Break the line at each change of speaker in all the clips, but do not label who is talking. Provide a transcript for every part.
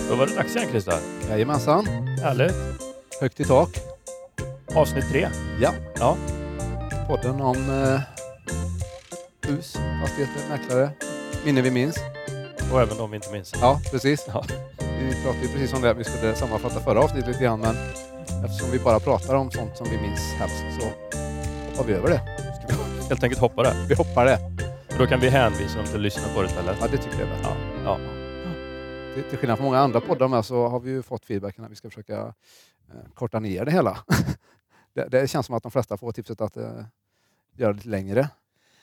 Välkommen Christer!
Jajamensan,
Härligt!
högt i tak.
Avsnitt tre.
Ja.
Ja.
Podden om eh, hus, fastigheter, mäklare, minne vi minns.
Och även de vi inte minns.
Ja, precis.
Ja.
Vi pratade ju precis om det, vi skulle sammanfatta förra avsnittet lite grann, men eftersom vi bara pratar om sånt som vi minns helst så hoppar vi över det.
Helt enkelt hoppa det.
Vi hoppar det.
För då kan vi hänvisa dem till att lyssna på det istället.
Ja, det tycker jag är bättre.
Ja. Ja.
Till, till skillnad från många andra poddar med så har vi ju fått feedbacken att vi ska försöka eh, korta ner det hela. det, det känns som att de flesta får tipset att eh, göra det lite längre.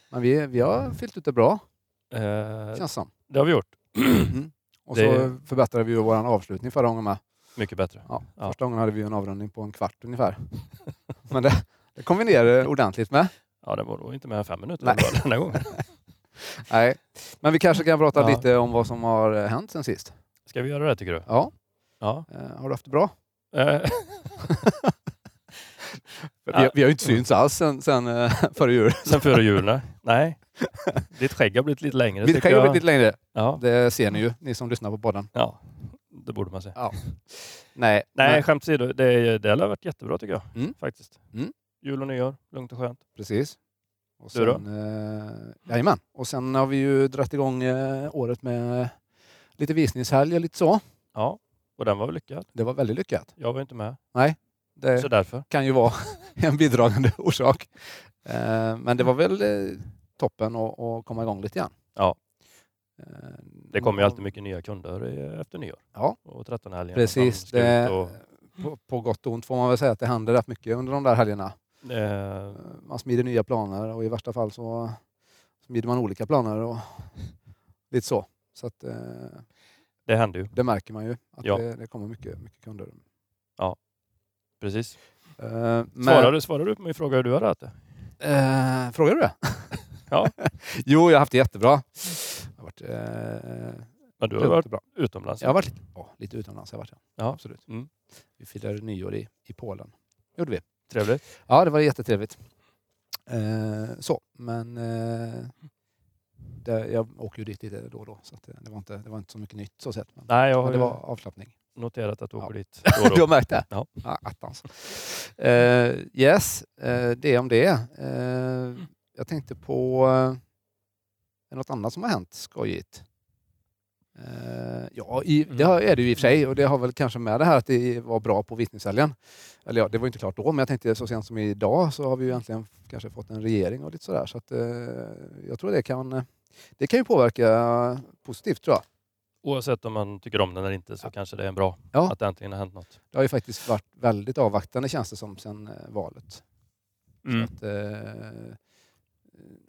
Men vi, vi har fyllt ut det bra,
Eh,
känns som. Mm.
det har vi gjort.
Och
Det-
så förbättrade vi ju vår avslutning förra gången med.
Mycket bättre.
Ja,
Ja.
Första gången hade vi ju en avrundning på en kvart ungefär. Men det, det kom vi ner eh, ordentligt med.
Ja, det var då inte mer än fem minuter
Nej.
det var den här gången.
Nej. Men vi kanske kan prata
Ja.
lite om vad som har eh, hänt sen sist.
Ska vi göra det tycker du?
Ja,
Ja.
eh, har du haft det bra?
Eh,
Vi, vi har ju inte synts alls sen, sen eh, före jul.
sen före jul, nej. nej. Ditt skägg har blivit lite längre.
Vi
tycker
kan ju
jag.
bli lite längre.
Ja.
Det ser ni ju, ni som lyssnar på podden.
ja, det borde man säga.
Nej,
Nej,
men-
skämt åsido. Det, är- det har varit jättebra tycker jag.
Mm.
Faktiskt.
Mm.
Jul och nyår, lugnt och skönt.
precis. Och
Du då?
Eh, jajamän. Och sen har vi ju dragit igång eh, året med lite visningshelg och lite så.
Ja, och den var väl lyckad.
Det var väldigt lyckat.
Jag var ju inte med,
Det
så därför.
kan ju vara en bidragande orsak. Eh, men det var väl eh, toppen att- att komma igång lite grann.
Ja.
Eh,
Det kommer ju alltid mycket nya kunder eh, efter nyår.
Ja.
Och 13 helgen.
Precis, det-
Och,
På, på gott och ont får man väl säga att det händer rätt mycket under de där helgerna.
eh,
Eh, Man smider nya planer och i värsta fall så smider man olika planer och lite så. Så att, eh,
det händer ju,
det märker man ju att
Ja.
det, det kommer mycket, mycket kunder.
precis.
Eh, men-
Svarar du, svarar du på min fråga hur du har rört det?
Eh, frågar du det?
Ja.
jo, jag har haft det jättebra. Jag har varit, eh,
Men du har varit
lugnt och bra.
utomlands.
Jag har varit ja, lite utomlands. Jag har varit, ja.
Ja.
Absolut.
Mm.
Vi firade nyår i, i Polen. gjorde vi.
Trevligt.
Ja, det var jättetrevligt. Eh, så, men eh, det, jag åker ju dit lite då och då, så att eh, det, det, var inte, det var inte så mycket nytt så sett. Men,
Nej, jag har
men det
ju
var avslappning.
noterat att du åker
Ja.
dit då och
Du
då.
har märkt det?
Ja.
attans. Eh, yes, eh, det om det. Eh, jag tänkte på eh, något annat som har hänt skojigt. Eh, ja, i, det har- är det ju i och för sig och det har väl kanske med det här att det var bra på vittneshelgen. Eller ja, det var ju inte klart då, men jag tänkte så sent som idag så har vi ju äntligen kanske fått en regering och lite sådär. Så att, eh, jag tror det kan, det kan ju påverka positivt tror jag.
Oavsett om man tycker om den eller inte så
Ja.
kanske det är bra
Ja.
att det äntligen har hänt något.
Det har ju faktiskt varit väldigt avvaktande känns det som sedan eh, valet.
Mm.
Så att, eh,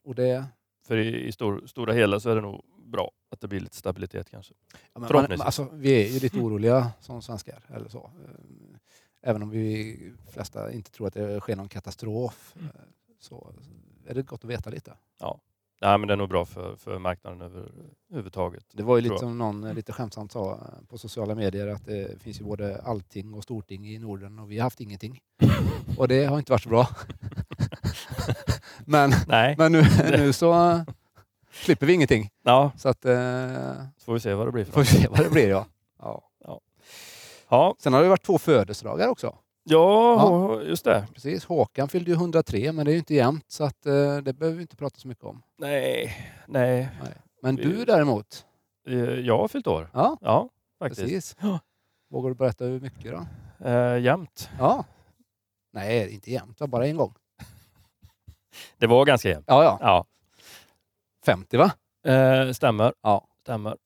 och det,
För i, i stor, stora hela så är det nog bra att det blir lite stabilitet kanske.
ja, men man,
Förhoppningsvis.
alltså, vi är ju lite oroliga som svenskar. Eller så. Eh, Även om vi flesta inte tror att det sker någon katastrof eh, så är det gott att veta lite.
Nej, men det är nog bra för, för marknaden över- överhuvudtaget.
Det var ju lite
Bra.
som någon eh, lite skämtsamt sa eh, på sociala medier att det finns ju både allting och storting i Norden och vi har haft ingenting. Och det har inte varit så bra. men
Nej,
men nu, nu så eh, slipper vi ingenting.
ja,
Så att, eh,
så får vi se vad det blir för
får vi
något.
se vad det blir. Ja. Ja.
Ja,
Sen har det varit två födelsedagar också.
ja, just det.
Precis. Håkan fyllde ju 103 men det är ju inte jämnt så att, eh, det behöver vi inte prata så mycket om.
Nej, nej.
Men
Vi-
du däremot,
Eh, Jag har fyllt år.
Ja.
ja faktiskt.
precis.
Ja.
Vågar du berätta hur mycket då?
Eh, jämnt.
Ja. Nej, inte jämnt. Det var bara en gång.
Det var ganska jämnt.
Ja, ja.
Ja.
50 va?
Eh, stämmer.
Ja.
Stämmer.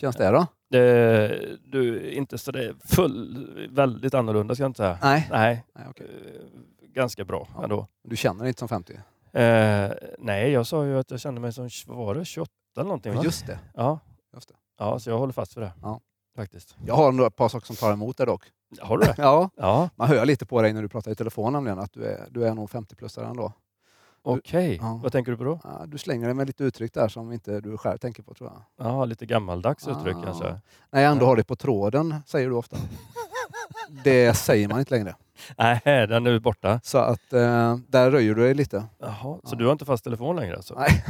Känns det då?
Det, du, är inte så det är full, väldigt annorlunda ska jag inte säga.
Nej.
Nej,
Nej okej.
eh, ganska bra
Ja.
ändå.
Du känner inte som 50?
Eh, nej, jag sa ju att jag kände mig som, vad var det 28 eller någonting?
Ja,
Va?
just det.
Ja.
Just det.
ja, så jag håller fast vid det.
Ja.
Faktiskt.
Jag har några ett par saker som tar emot dig dock.
Har du det?
Ja,
Ja,
man hör lite på dig när du pratar i telefon nämligen att du är, du är nog 50-plussare ändå.
okej.
Ja.
Vad tänker du på då?
Ja, Du slänger dig med lite uttryck där som inte du själv tänker på tror jag.
Ja, lite gammaldags uttryck
Ah.
kanske.
När jag ändå har det på tråden, säger du ofta. Det säger man inte längre.
Nej, den är borta.
Så att eh, där röjer du dig lite.
Jaha, så
Ja.
du har inte fast telefon längre alltså?
Nej.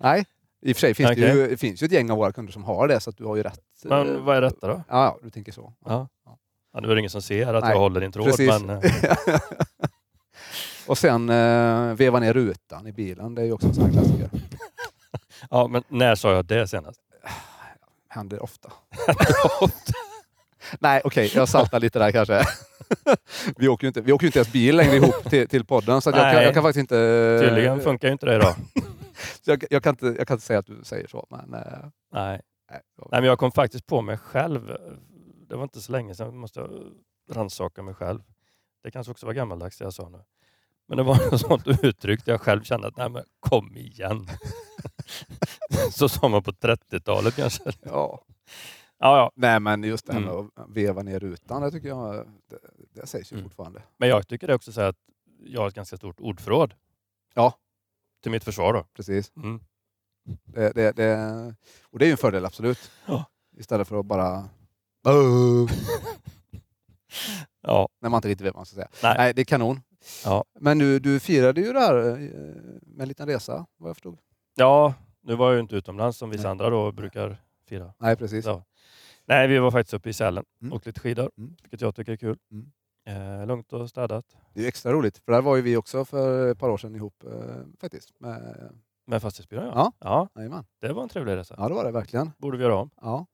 Nej, I och för sig finns det
Okej.
ju, finns ju ett gäng av våra kunder som har det, så att du har ju rätt. eh,
Men vad är detta då?
Ja, ja, du tänker så.
Ja. Ja, nu är det ingen som ser att
Nej,
jag håller din tråd,
precis.
men eh,
och sen eh, veva ner rutan i bilen, det är ju också en sån här klassiker.
ja, men när sa jag det senast?
Händer ofta. Nej, okej, jag saltar lite där kanske. vi, åker ju inte, vi åker ju inte ens bil längre ihop till, till podden, så att jag, kan,
Nej.
jag kan faktiskt inte...
Tydligen funkar ju inte det idag.
så jag, jag, kan inte, jag kan inte säga att du säger så, men... eh,
Nej.
nej, det var-
Nej, men jag kom faktiskt på mig själv. Det var inte så länge sedan. Jag måste rannsaka mig själv. Det kanske också var gammaldags det jag sa nu. Men det var ett sånt uttryck där jag själv kände att nej, men kom igen. så sa man på 30-talet kanske. Ja,
Ja.
ja,
Nej, men just det här med
Mm.
att veva ner rutan, det tycker jag, det, det sägs ju
Mm.
fortfarande.
men jag tycker det också så här att jag har ett ganska stort ordförråd.
Ja.
Till mitt försvar då.
Precis.
Mm.
Det, det, det, och det är ju en fördel, absolut.
Ja.
Istället för att bara...
Ja,
När man inte riktigt vet vad man ska säga.
Nej.
det är kanon.
Ja.
Men du, du firade ju det här eh, med en liten resa, vad jag förstod.
ja, nu var jag ju inte utomlands som vissa
Nej.
andra då brukar fira.
Nej, precis.
Ja. Nej, vi var faktiskt uppe i Sälen
Mm.
och åkte lite skidor,
Mm.
vilket jag tycker är kul.
Mm.
Eh, lugnt och städat
Det är ju extra roligt, för där var ju vi också för ett par år sedan ihop eh, faktiskt. Med,
med fastighetsbyrån. Ja.
Ja.
Ja,
jajamän.
det var en trevlig resa.
ja, det var det verkligen.
Borde vi göra om.
Ja.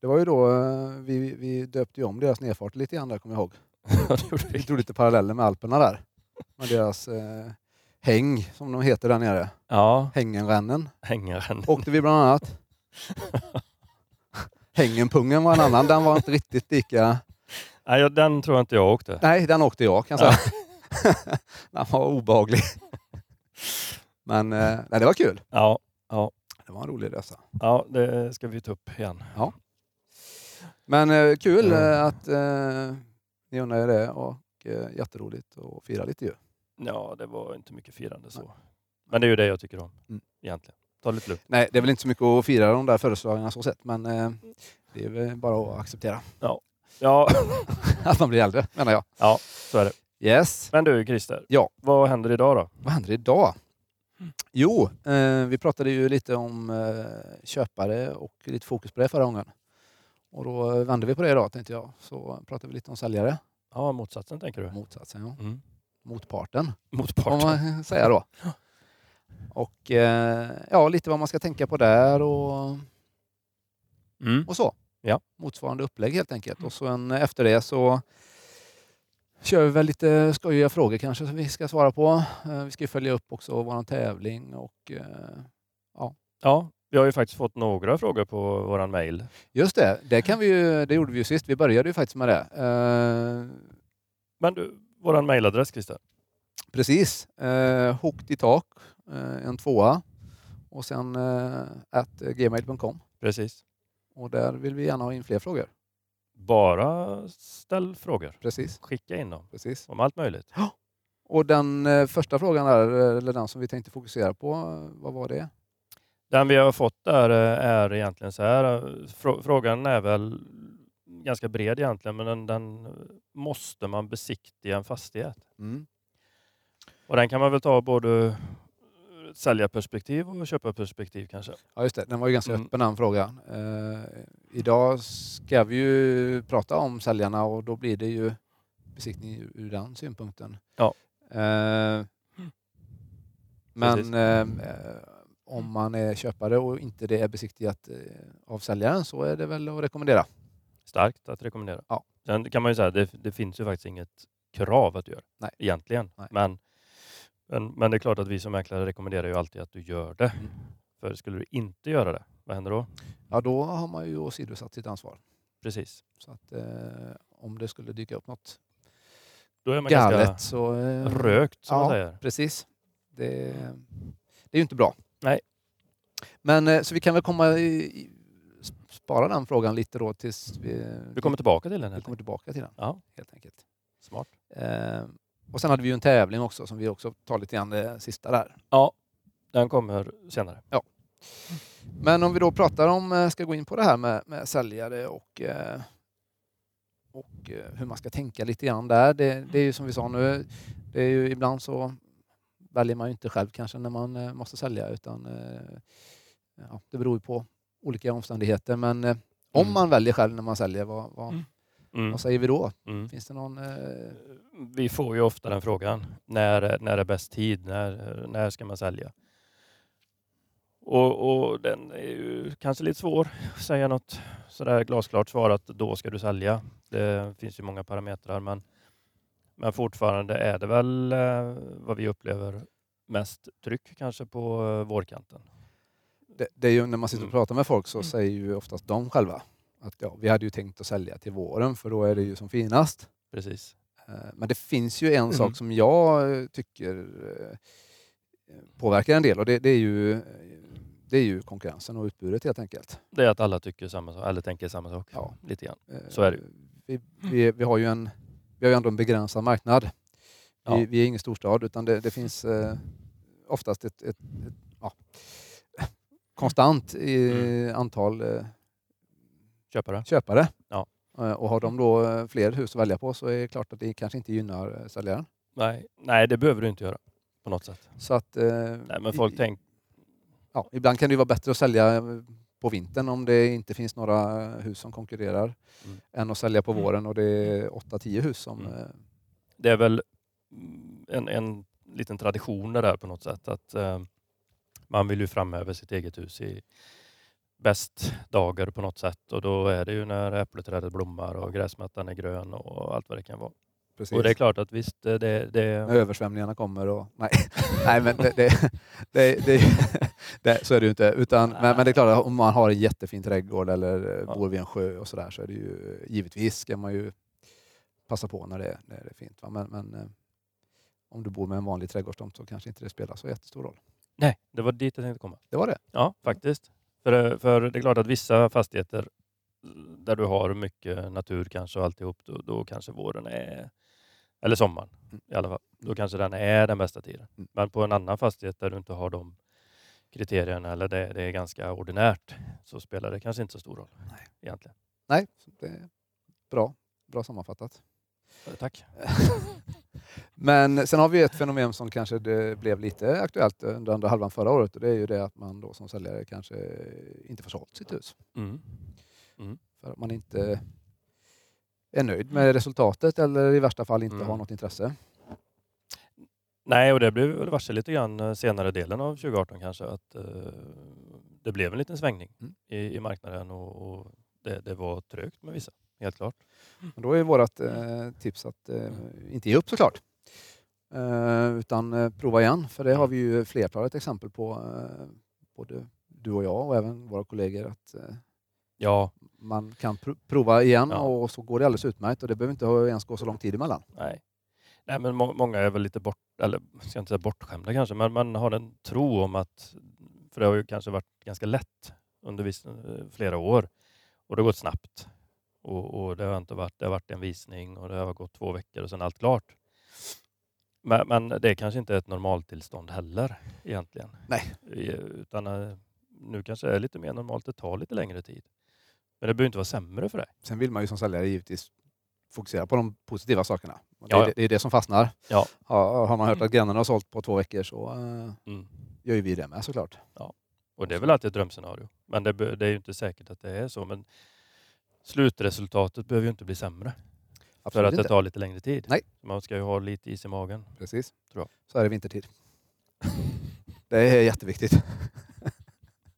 Det var ju då eh, vi, vi döpte ju om deras nedfart lite grann där, kommer jag ihåg.
Ja, det gjorde
Vi
vi.
drog lite paralleller med Alperna där. Med deras eh, häng, som de heter där nere.
ja,
Hängenrännen
hängaren.
åkte vi bland annat. Hängenpungen var en annan, den var inte riktigt lika...
Nej, ja, den tror jag inte jag åkte.
Nej, den åkte jag kan jag säga. den var obehaglig. Men eh, nej, det var kul.
Ja,
Det var en rolig resa.
ja, det ska vi ta upp igen.
Men eh, kul
Mm.
eh, att eh, ni undrade det och eh, jätteroligt att fira lite ju.
Ja, det var inte mycket firande så.
Nej.
Men det är ju det jag tycker om
Mm.
egentligen. Ta lite lugnt.
Nej, det är väl inte så mycket att fira de där födelsedagarna så sett, men eh, det är väl bara att acceptera
Ja,
att man blir äldre, menar jag.
så är det.
Yes.
Men du Christer,
Ja.
vad händer idag då?
Vad händer idag? Jo, eh, vi pratade ju lite om eh, köpare och lite fokus på det förra gången. Och då eh, vände vi på det idag tänkte jag. Så pratade vi lite om säljare,
Ja, motsatsen tänker du?
motsatsen, ja.
Mm.
motparten
Motparten.
får man säga då. Och eh, ja, lite vad man ska tänka på där och,
Mm.
och så.
Ja.
Motsvarande upplägg helt enkelt. Och så en, efter det så kör vi väl lite skojiga frågor kanske som vi ska svara på. Eh, vi ska ju följa upp också vår tävling och eh,
Ja, vi har ju faktiskt fått några frågor på våran mail.
Just det, det, kan vi ju, det gjorde vi ju sist. Vi började ju faktiskt med det. Eh,
Men du, våran mailadress Christer?
precis. Eh, Hooked i tak, eh, en tvåa. Och sen eh, at gmail.com.
Precis.
Och där vill vi gärna ha in fler frågor.
Bara ställ frågor.
Precis.
Skicka in dem
precis.
om allt möjligt.
Och den eh, första frågan där, eh, eller den som vi tänkte fokusera på, eh, vad var det?
Den vi har fått där eh, är egentligen så här. eh, frå- Frågan är väl ganska bred egentligen, men den, den eh, måste man besiktiga en fastighet?
Mm.
Och den kan man väl ta både ur ett säljarperspektiv och köparperspektiv kanske.
Ja just det, den var ju ganska
Mm.
öppen den frågan. Eh, idag ska vi ju prata om säljarna och då blir det ju besiktning ur- ur den synpunkten.
Ja.
Eh,
Precis.
men eh, eh, om man är köpare och inte det är besiktigat eh, av säljaren så är det väl att rekommendera.
Starkt att rekommendera.
Ja.
Sen kan man ju säga det, det finns ju faktiskt inget krav att du gör
Nej.
egentligen.
Nej.
Men, men, men det är klart att vi som mäklare rekommenderar ju alltid att du gör det.
Mm.
För skulle du inte göra det, vad händer då?
Ja, då har man ju åsidosatt sitt ansvar.
Precis.
Så att eh, om det skulle dyka upp något
Då är man
galet
ganska
så... Eh,
rökt som
ja.
man säger.
Precis. Det, det är ju inte bra.
Nej.
Men eh, så vi kan väl komma i, i- spara den frågan lite då tills vi,
Vi kommer tillbaka till den.
vi
Helt
kommer
enkelt.
tillbaka till den.
Ja.
Helt enkelt.
Smart.
Eh, och sen hade vi ju en tävling också som vi också tar lite grann det sista där.
Den kommer senare.
Men om vi då pratar om, eh, ska gå in på det här med, med säljare och, eh, och eh, hur man ska tänka lite grann där. Det, det är ju som vi sa nu, det är ju ibland så väljer man ju inte själv kanske när man eh, måste sälja utan eh, ja, det beror ju på olika omständigheter. Men eh, om
Mm.
man väljer själv när man säljer, vad, vad,
Mm. Mm.
vad säger vi då?
Mm.
Finns det någon... Eh,
Vi får ju ofta den frågan. När, när är bäst tid? När, när ska man sälja? Och, och den är ju kanske lite svår att säga något sådär glasklart svar att då ska du sälja. Det finns ju många parametrar men, men fortfarande är det väl eh, vad vi upplever mest tryck kanske på eh, vårkanten.
det, det är ju, när man sitter och
Mm.
pratar med folk så
Mm.
säger ju oftast de själva att ja, vi hade ju tänkt att sälja till våren för då är det ju som finast.
Precis.
Eh, Men det finns ju en
Mm.
sak som jag eh, tycker eh, påverkar en del och det, det, är ju, eh, det är ju konkurrensen och utbudet helt enkelt.
Det är att alla tycker samma sak, eller tänker samma sak.
Ja.
Lite grann.
Eh,
Så är det ju.
Vi, vi, vi har ju en, vi har ju ändå en begränsad marknad.
Ja.
Vi, vi är ingen storstad utan det, det finns eh, oftast ett, ett, ett ja, konstant i
Mm.
antal eh,
Köpare.
köpare.
Ja.
Eh, Och har de då eh, fler hus att välja på så är det klart att det kanske inte gynnar eh, säljaren.
Nej, nej, det behöver du inte göra på något sätt.
Så att, eh,
Nej, men folk
i-
tänker
ja, ibland kan det ju vara bättre att sälja eh, på vintern om det inte finns några eh, hus som konkurrerar
Mm.
än att sälja på våren och det är 8-10 hus som...
Mm.
eh,
det är väl mm, en, en liten tradition det där på något sätt. Att eh, man vill ju framhäva sitt eget hus i bäst dagar på något sätt. Och då är det ju när äppelträdet blommar och gräsmattan är grön och allt vad det kan vara.
Precis.
Och det är klart att visst, det, det,
När
det
översvämningarna kommer och... Nej, nej men det, det, det, det, det, så är det ju inte. Utan, men, men det är klart, att om man har en jättefin trädgård eller eh,
Ja.
bor vid en sjö och sådär så är det ju eh, givetvis ska man ju passa på när det, när det är fint. Va? Men, men eh, om du bor med en vanlig trädgårdstomt så kanske inte det spelar så jättestor roll.
nej, det var dit jag tänkte komma.
Det var det.
Ja, faktiskt. För, eh, för det är klart att vissa fastigheter där du har mycket natur kanske och alltihop, då, då kanske våren är, eller sommaren
Mm.
i alla fall, då kanske den är den bästa tiden.
Mm.
Men på en annan fastighet där du inte har de kriterierna eller det, det är ganska ordinärt så spelar det kanske inte så stor roll
Nej.
egentligen.
Nej, så det är bra. Bra sammanfattat.
Eh, Tack.
Men sen har vi ett fenomen som kanske det blev lite aktuellt under andra halvan förra året och det är ju det att man då som säljare kanske inte får sålt sitt hus.
Mm.
för att man inte är nöjd med resultatet eller i värsta fall inte
Mm.
har något intresse.
Nej, och det blev vi väl varse lite grann eh, senare delen av 2018 kanske att eh, det blev en liten svängning
Mm.
i, i marknaden och, och det, det var trögt med vissa, helt klart.
Men då är vårt eh, tips att eh, inte ge upp såklart. Eh, utan eh, prova igen, för det har vi ju flertalet exempel på, eh, både du och jag och även våra kollegor, att eh,
Ja,
man kan pr- prova igen
Ja.
och så går det alldeles utmärkt och det behöver inte ha- ens gå så lång tid emellan.
Nej. Nej, men må många är väl lite bort, eller jag ska inte säga bortskämda kanske, men man har en tro om att, för det har ju kanske varit ganska lätt under viss, eh, flera år och det har gått snabbt. Och, och det, har inte varit, det har varit en visning och det har gått två veckor och sen allt klart. Men, men det kanske inte är ett normaltillstånd heller egentligen.
Nej.
I- Utan eh, nu kanske det är lite mer normalt, det tar lite längre tid. Men det behöver inte vara sämre för dig.
Sen vill man ju som säljare givetvis fokusera på de positiva sakerna. Och
Ja,
Det,
ja.
är, det är det som fastnar.
Ja.
Ja, har man hört att grannarna har sålt på två veckor så eh, gör ju vi det med såklart.
Och det är väl alltid ett drömscenario. Men det, be- det är ju inte säkert att det är så. Men slutresultatet behöver ju inte bli sämre. för
Absolut
att det
inte.
tar lite längre tid.
Nej.
Man ska ju ha lite is i magen.
Precis.
Tror jag.
Så är det vintertid. Det är jätteviktigt.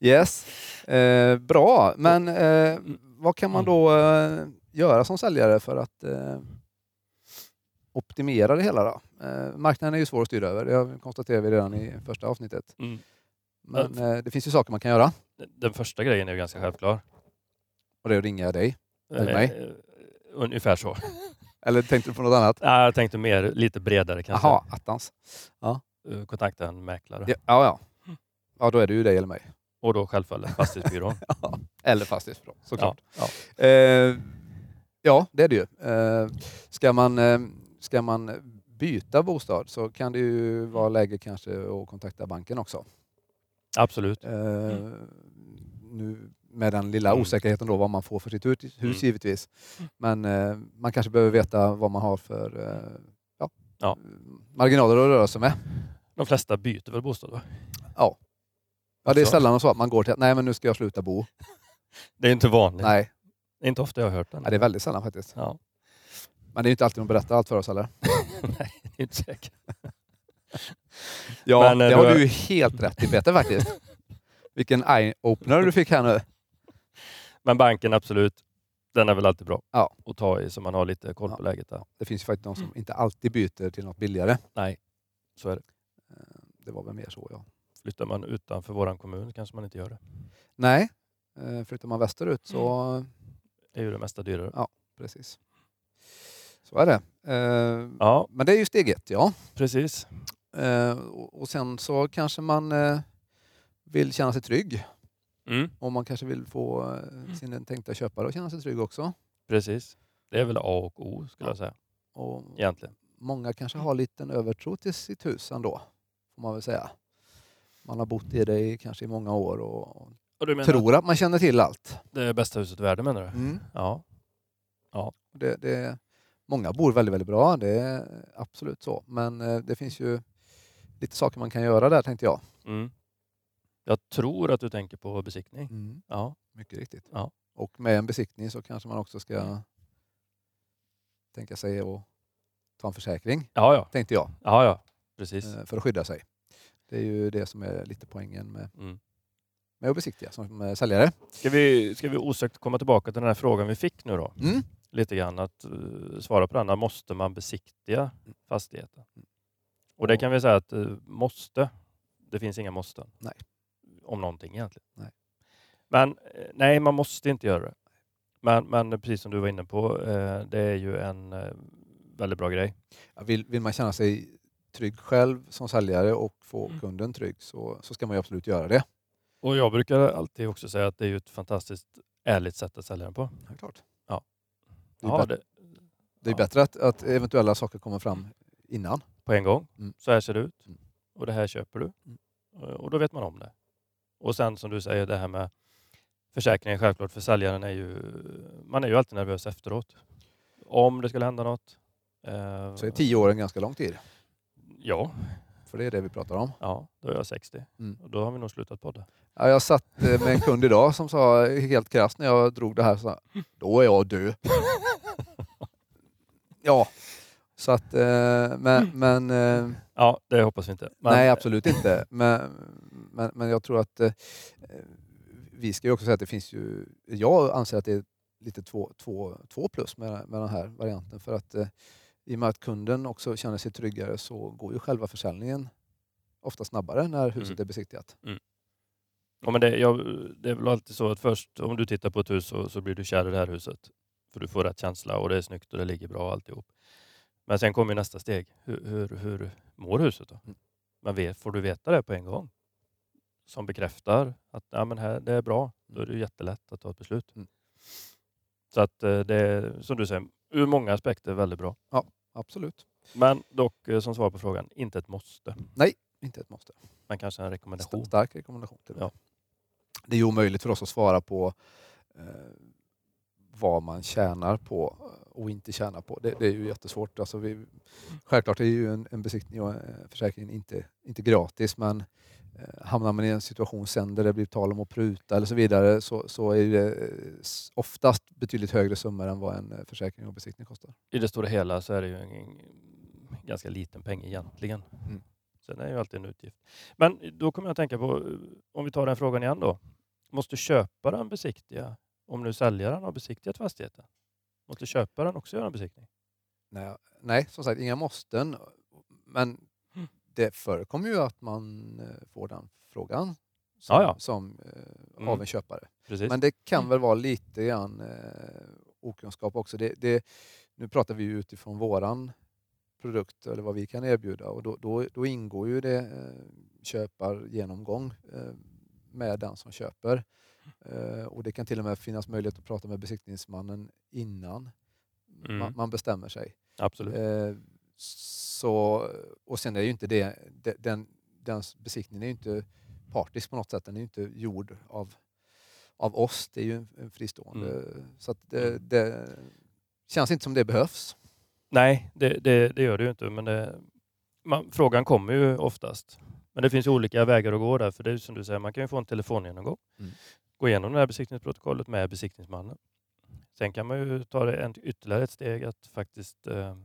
Yes, eh, bra. Men eh, vad kan man då
Mm.
eh, göra som säljare för att eh, optimera det hela? Då? Eh, marknaden är ju svår att styra över, det har vi- konstaterade vi redan i första avsnittet. Men eh, det finns ju saker man kan göra
Den första grejen är ju ganska självklar.
och det är att ringa dig. Eller mig.
Eh, eh, Ungefär så.
Eller tänkte du på något annat?
Nej, Jag tänkte mer lite bredare kanske.
Jaha, attans.
Eh, Kontakta en mäklare.
Ja, ja. Ja, då är det ju dig eller mig.
Och då självfallet fastighetsbyrån.
Eller fastighetsbolag
ja.
såklart.
Ja.
Eh, ja, det är det ju. Eh, ska, man, eh, ska man byta bostad så kan det ju vara läge kanske att kontakta banken också.
Absolut.
Eh, nu med den lilla
Mm.
osäkerheten då vad man får för sitt hus, hus
Mm.
givetvis. Men eh, man kanske behöver veta vad man har för eh, ja,
Ja.
marginaler att röra sig med.
De flesta byter väl bostad? Va?
Ja, det är
Också.
sällan så att man går till att nej, men nu ska jag sluta bo.
Det är inte vanligt.
Nej,
Det är inte ofta jag har hört den.
ja, det är väldigt sällan faktiskt.
Ja,
Men det är ju inte alltid de berättar allt för oss heller.
nej, det är inte säkert.
Ja,
Men, eh,
det
du
har
har-
du ju helt rätt i Peter faktiskt. Vilken eye-opener du fick här nu.
Men banken, absolut. Den är väl alltid bra
Ja.
att ta i så man har lite koll
Ja.
på läget. Där.
Det finns ju faktiskt de som inte alltid byter till något billigare.
Så är det.
Det var väl mer så, ja.
Flyttar man utanför våran kommun kanske man inte gör det.
Nej, eh, flyttar man västerut så...
Mm. Det är ju det mesta dyrare.
Precis. Så är det. Eh,
Ja,
Men det är ju steg ett, ja.
precis.
Eh, och och sen så kanske man eh, vill känna sig trygg.
Mm.
Och man kanske vill få eh, sin tänkta köpare att känna sig trygg också.
Precis. Det är väl A och O skulle jag säga
Och
egentligen.
Många kanske har lite en övertro till sitt hus ändå, får man väl säga. Man har bott i det i kanske i många år och och
Och du menar
tror att man känner till allt.
att det är bästa huset i världen menar du?
Mm.
Ja.
Det, det, många bor väldigt, väldigt bra, det är absolut så. Men eh, det finns ju lite saker man kan göra där tänkte jag.
Mm. Jag tror att du tänker på besiktning. Ja.
Mm, Mycket riktigt.
Ja.
Och med en besiktning så kanske man också ska tänka sig att ta en försäkring,
Ja, ja.
tänkte jag,
ja, ja. Precis.
eh, för att skydda sig. Det är ju det som är lite poängen med,
Mm.
med att besiktiga som eh, säljare.
Ska, vi, ska vi osökt komma tillbaka till den här frågan vi fick nu då?
Mm.
Lite grann att eh, svara på den. här, Måste man besiktiga fastigheten? Och det kan vi säga att eh, måste. Det finns inga måsten.
Nej.
Om någonting egentligen.
Nej.
Men eh, nej, man måste inte göra det. Men, men precis som du var inne på, eh, det är ju en eh, väldigt bra grej.
Ja, Vill, vill man känna sig trygg själv som säljare och få
Mm.
kunden trygg så, så ska man ju absolut göra det.
Och jag brukar alltid också säga att det är ju ett fantastiskt ärligt sätt att sälja den på.
Ja, klart. Det är
Ja,
bättre.
det,
Det är
Ja.
bättre att, att eventuella saker kommer fram innan.
på en gång.
Mm.
Så här ser det ut.
Mm.
Och det här köper du.
Mm.
Eh, Och då vet man om det. Och sen som du säger, det här med försäkringen självklart för säljaren är ju... Man är ju alltid nervös efteråt. Om det skulle hända något. eh,
Så är tio år en ganska lång tid,
Ja,
för det är det vi pratar om.
ja, då är jag 60.
Mm.
Och då har vi nog slutat podda.
Ja, jag satt eh, med en kund idag som sa eh, helt krasst när jag drog det här, så, då är jag död. Ja, så att, eh, men, men eh,
Ja, det hoppas vi inte. Men-
nej absolut inte. Men, men, men jag tror att eh, vi ska ju också säga att det finns ju, jag anser att det är lite två, två, två plus med, med den här varianten för att eh, i och med att kunden också känner sig tryggare så går ju själva försäljningen ofta snabbare när huset
Mm.
är besiktigat.
Ja, men det, jag, det är väl alltid så att först om du tittar på ett hus så, så blir du kär i det här huset. För du får rätt känsla och det är snyggt och det ligger bra och alltihop. Men sen kommer ju nästa steg. Hur, hur, hur mår huset då?
Mm.
Men vet, får du veta det på en gång? Som bekräftar att ja, men här, det är bra. Då är det ju jättelätt att ta ett beslut.
Mm.
Så att eh, det är, som du säger, ur många aspekter väldigt bra.
Absolut,
Men dock, eh, som svar på frågan, inte ett måste.
inte ett måste.
Men kanske en rekommendation.
Stark rekommendation till och med.
Ja.
Det är ju omöjligt för oss att svara på eh, vad man tjänar på eh, och inte tjänar på. Det, det är ju jättesvårt. Alltså vi, självklart är ju en, en besiktning och eh, försäkring inte, inte gratis men eh, hamnar man i en situation sen där det blir tal om att pruta eller så vidare så, så är det eh, s- oftast betydligt högre summor än vad en eh, försäkring och besiktning kostar.
i det stora hela så är det ju en, en ganska liten peng egentligen.
Mm.
Sen är det ju alltid en utgift. Men då kommer jag att tänka på, eh, om vi tar den frågan igen då. Måste köparen besiktiga, om nu säljaren har besiktigat fastigheten? Måste köparen också göra en besiktning?
Nej, nej som sagt inga måsten men
Mm.
det förekommer ju att man eh, får den frågan som,
Ja, ja.
som, eh,
Mm.
av en köpare.
Precis. Mm.
Men det kan väl vara lite grann eh, okunskap också. Det, det, nu pratar vi ju utifrån våran produkt eller vad vi kan erbjuda och då, då, då ingår ju det eh, köpargenomgång eh, med den som köper. Eh, och det kan till och med finnas möjlighet att prata med besiktningsmannen innan
Mm.
man, man bestämmer sig.
Absolut.
Eh, så, och sen är ju inte det, de- den, den besiktningen är ju inte partisk på något sätt. Den är ju inte gjord av, av oss. Det är ju en, en fristående.
Mm.
Så att det, det känns inte som det behövs.
Nej, det, det, det gör det ju inte. Men det, man, frågan kommer ju oftast. Men det finns olika vägar att gå där, för det är ju som du säger, man kan ju få en telefongenomgång.
Mm.
Gå igenom det här besiktningsprotokollet med besiktningsmannen. Sen kan man ju ta det en, ytterligare ett steg att faktiskt eh,